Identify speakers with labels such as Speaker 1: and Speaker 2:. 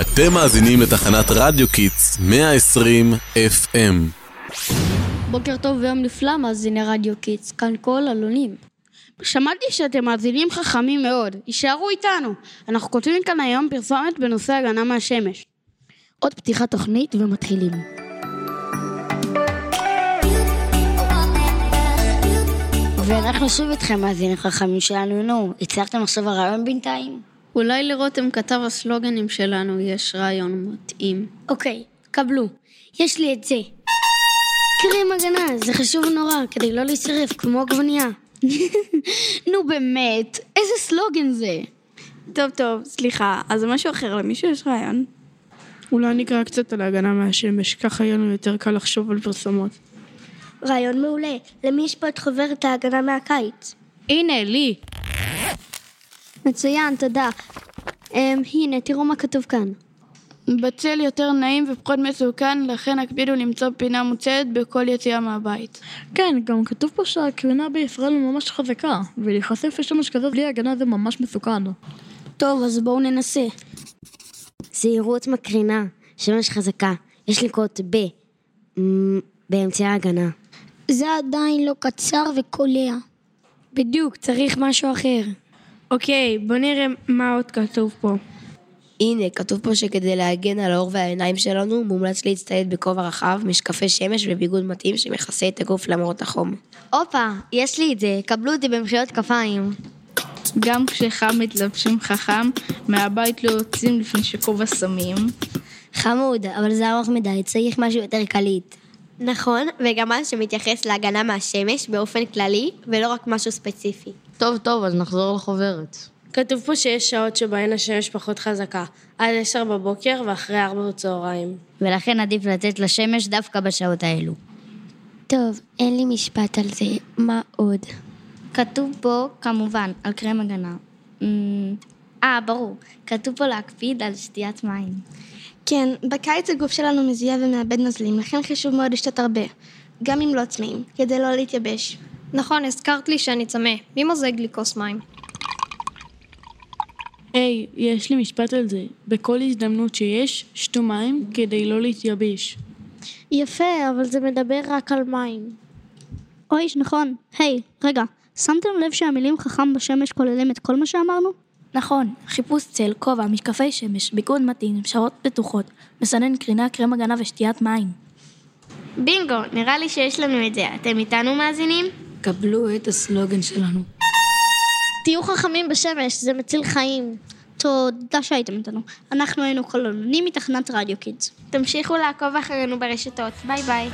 Speaker 1: אתם מאזינים לתחנת רדיו קיטס 120 FM.
Speaker 2: בוקר טוב ויום נפלא, מאזיני רדיו קיטס, כאן כל אלונים.
Speaker 3: שמעתי שאתם מאזינים חכמים מאוד, הישארו איתנו. אנחנו כותבים כאן היום פרסומת בנושא הגנה מהשמש.
Speaker 4: עוד פתיחת תוכנית ומתחילים.
Speaker 5: ואנחנו שוב איתכם, מאזינים חכמים שלנו, נו, הצלחתם עכשיו הרעיון בינתיים?
Speaker 6: אולי לרותם כתב הסלוגנים שלנו יש רעיון מתאים.
Speaker 7: אוקיי, קבלו. יש לי את זה. קרם הגנה, זה חשוב נורא, כדי לא להישרף כמו עגבנייה.
Speaker 8: נו באמת, איזה סלוגן זה?
Speaker 9: טוב, טוב, סליחה, אז משהו אחר, למישהו יש רעיון?
Speaker 3: אולי נקרא קצת על ההגנה מהשמש, ככה יהיה לנו יותר קל לחשוב על פרסומות.
Speaker 10: רעיון מעולה, למי יש פה את חוברת ההגנה מהקיץ?
Speaker 11: הנה, לי.
Speaker 10: מצוין, תודה. Um, הנה, תראו מה כתוב כאן.
Speaker 12: בצל יותר נעים ופחות מסוכן, לכן הקפידו למצוא פינה מוצלת בכל יציאה מהבית.
Speaker 13: כן, גם כתוב פה שהקרינה בישראל ממש חזקה, ולהיחשף לשמש כזה בלי הגנה זה ממש מסוכן.
Speaker 7: טוב, אז בואו ננסה.
Speaker 5: זהירות מקרינה, שמש חזקה, יש לנקוט ב... באמצעי ההגנה.
Speaker 10: זה עדיין לא קצר וקולע.
Speaker 7: בדיוק, צריך משהו אחר.
Speaker 12: אוקיי, בוא נראה מה עוד כתוב פה.
Speaker 14: הנה, כתוב פה שכדי להגן על האור והעיניים שלנו, מומלץ להצטייד בכובע רחב, משקפי שמש וביגוד מתאים שמכסה את הגוף למרות החום.
Speaker 5: הופה, יש לי את זה, קבלו אותי במחיאות כפיים.
Speaker 15: גם כשחם מתלבשים חכם, מהבית לא יוצאים לפני שכובע שמים.
Speaker 5: חמוד, אבל זה ארוך מדי, צריך משהו יותר קליט.
Speaker 16: נכון, וגם משהו שמתייחס להגנה מהשמש באופן כללי, ולא רק משהו ספציפי.
Speaker 6: טוב, טוב, אז נחזור לחוברת.
Speaker 12: כתוב פה שיש שעות שבהן השמש פחות חזקה, עד 10 בבוקר ואחרי 4 בצהריים.
Speaker 5: ולכן עדיף לתת לשמש דווקא בשעות האלו.
Speaker 10: טוב, אין לי משפט על זה, מה עוד?
Speaker 11: כתוב פה, כמובן, על קרם הגנה. אה, ברור, כתוב פה להקפיד על שתיית מים.
Speaker 10: כן, בקיץ הגוף שלנו מזיע ומאבד נוזלים, לכן חשוב מאוד לשתות הרבה, גם אם לא צמאים, כדי לא להתייבש.
Speaker 17: נכון, הזכרת לי שאני צמא. מי מוזג לי כוס מים?
Speaker 12: היי, hey, יש לי משפט על זה. בכל הזדמנות שיש, שתו מים כדי לא להתייבש.
Speaker 10: יפה, אבל זה מדבר רק על מים.
Speaker 2: אוי, נכון. היי, hey, רגע, שמתם לב שהמילים חכם בשמש כוללים את כל מה שאמרנו?
Speaker 4: נכון, חיפוש צל, כובע, משקפי שמש, ביגוד מתאים, שעות בטוחות, מסנן קרינה, קרם הגנה ושתיית מים.
Speaker 8: בינגו, נראה לי שיש לנו את זה. אתם איתנו מאזינים?
Speaker 18: קבלו את הסלוגן שלנו.
Speaker 10: תהיו חכמים בשמש, זה מציל חיים.
Speaker 2: תודה שהייתם איתנו. אנחנו היינו קולונים מתחנת רדיו קידס.
Speaker 8: תמשיכו לעקוב אחרינו ברשתות. ביי ביי.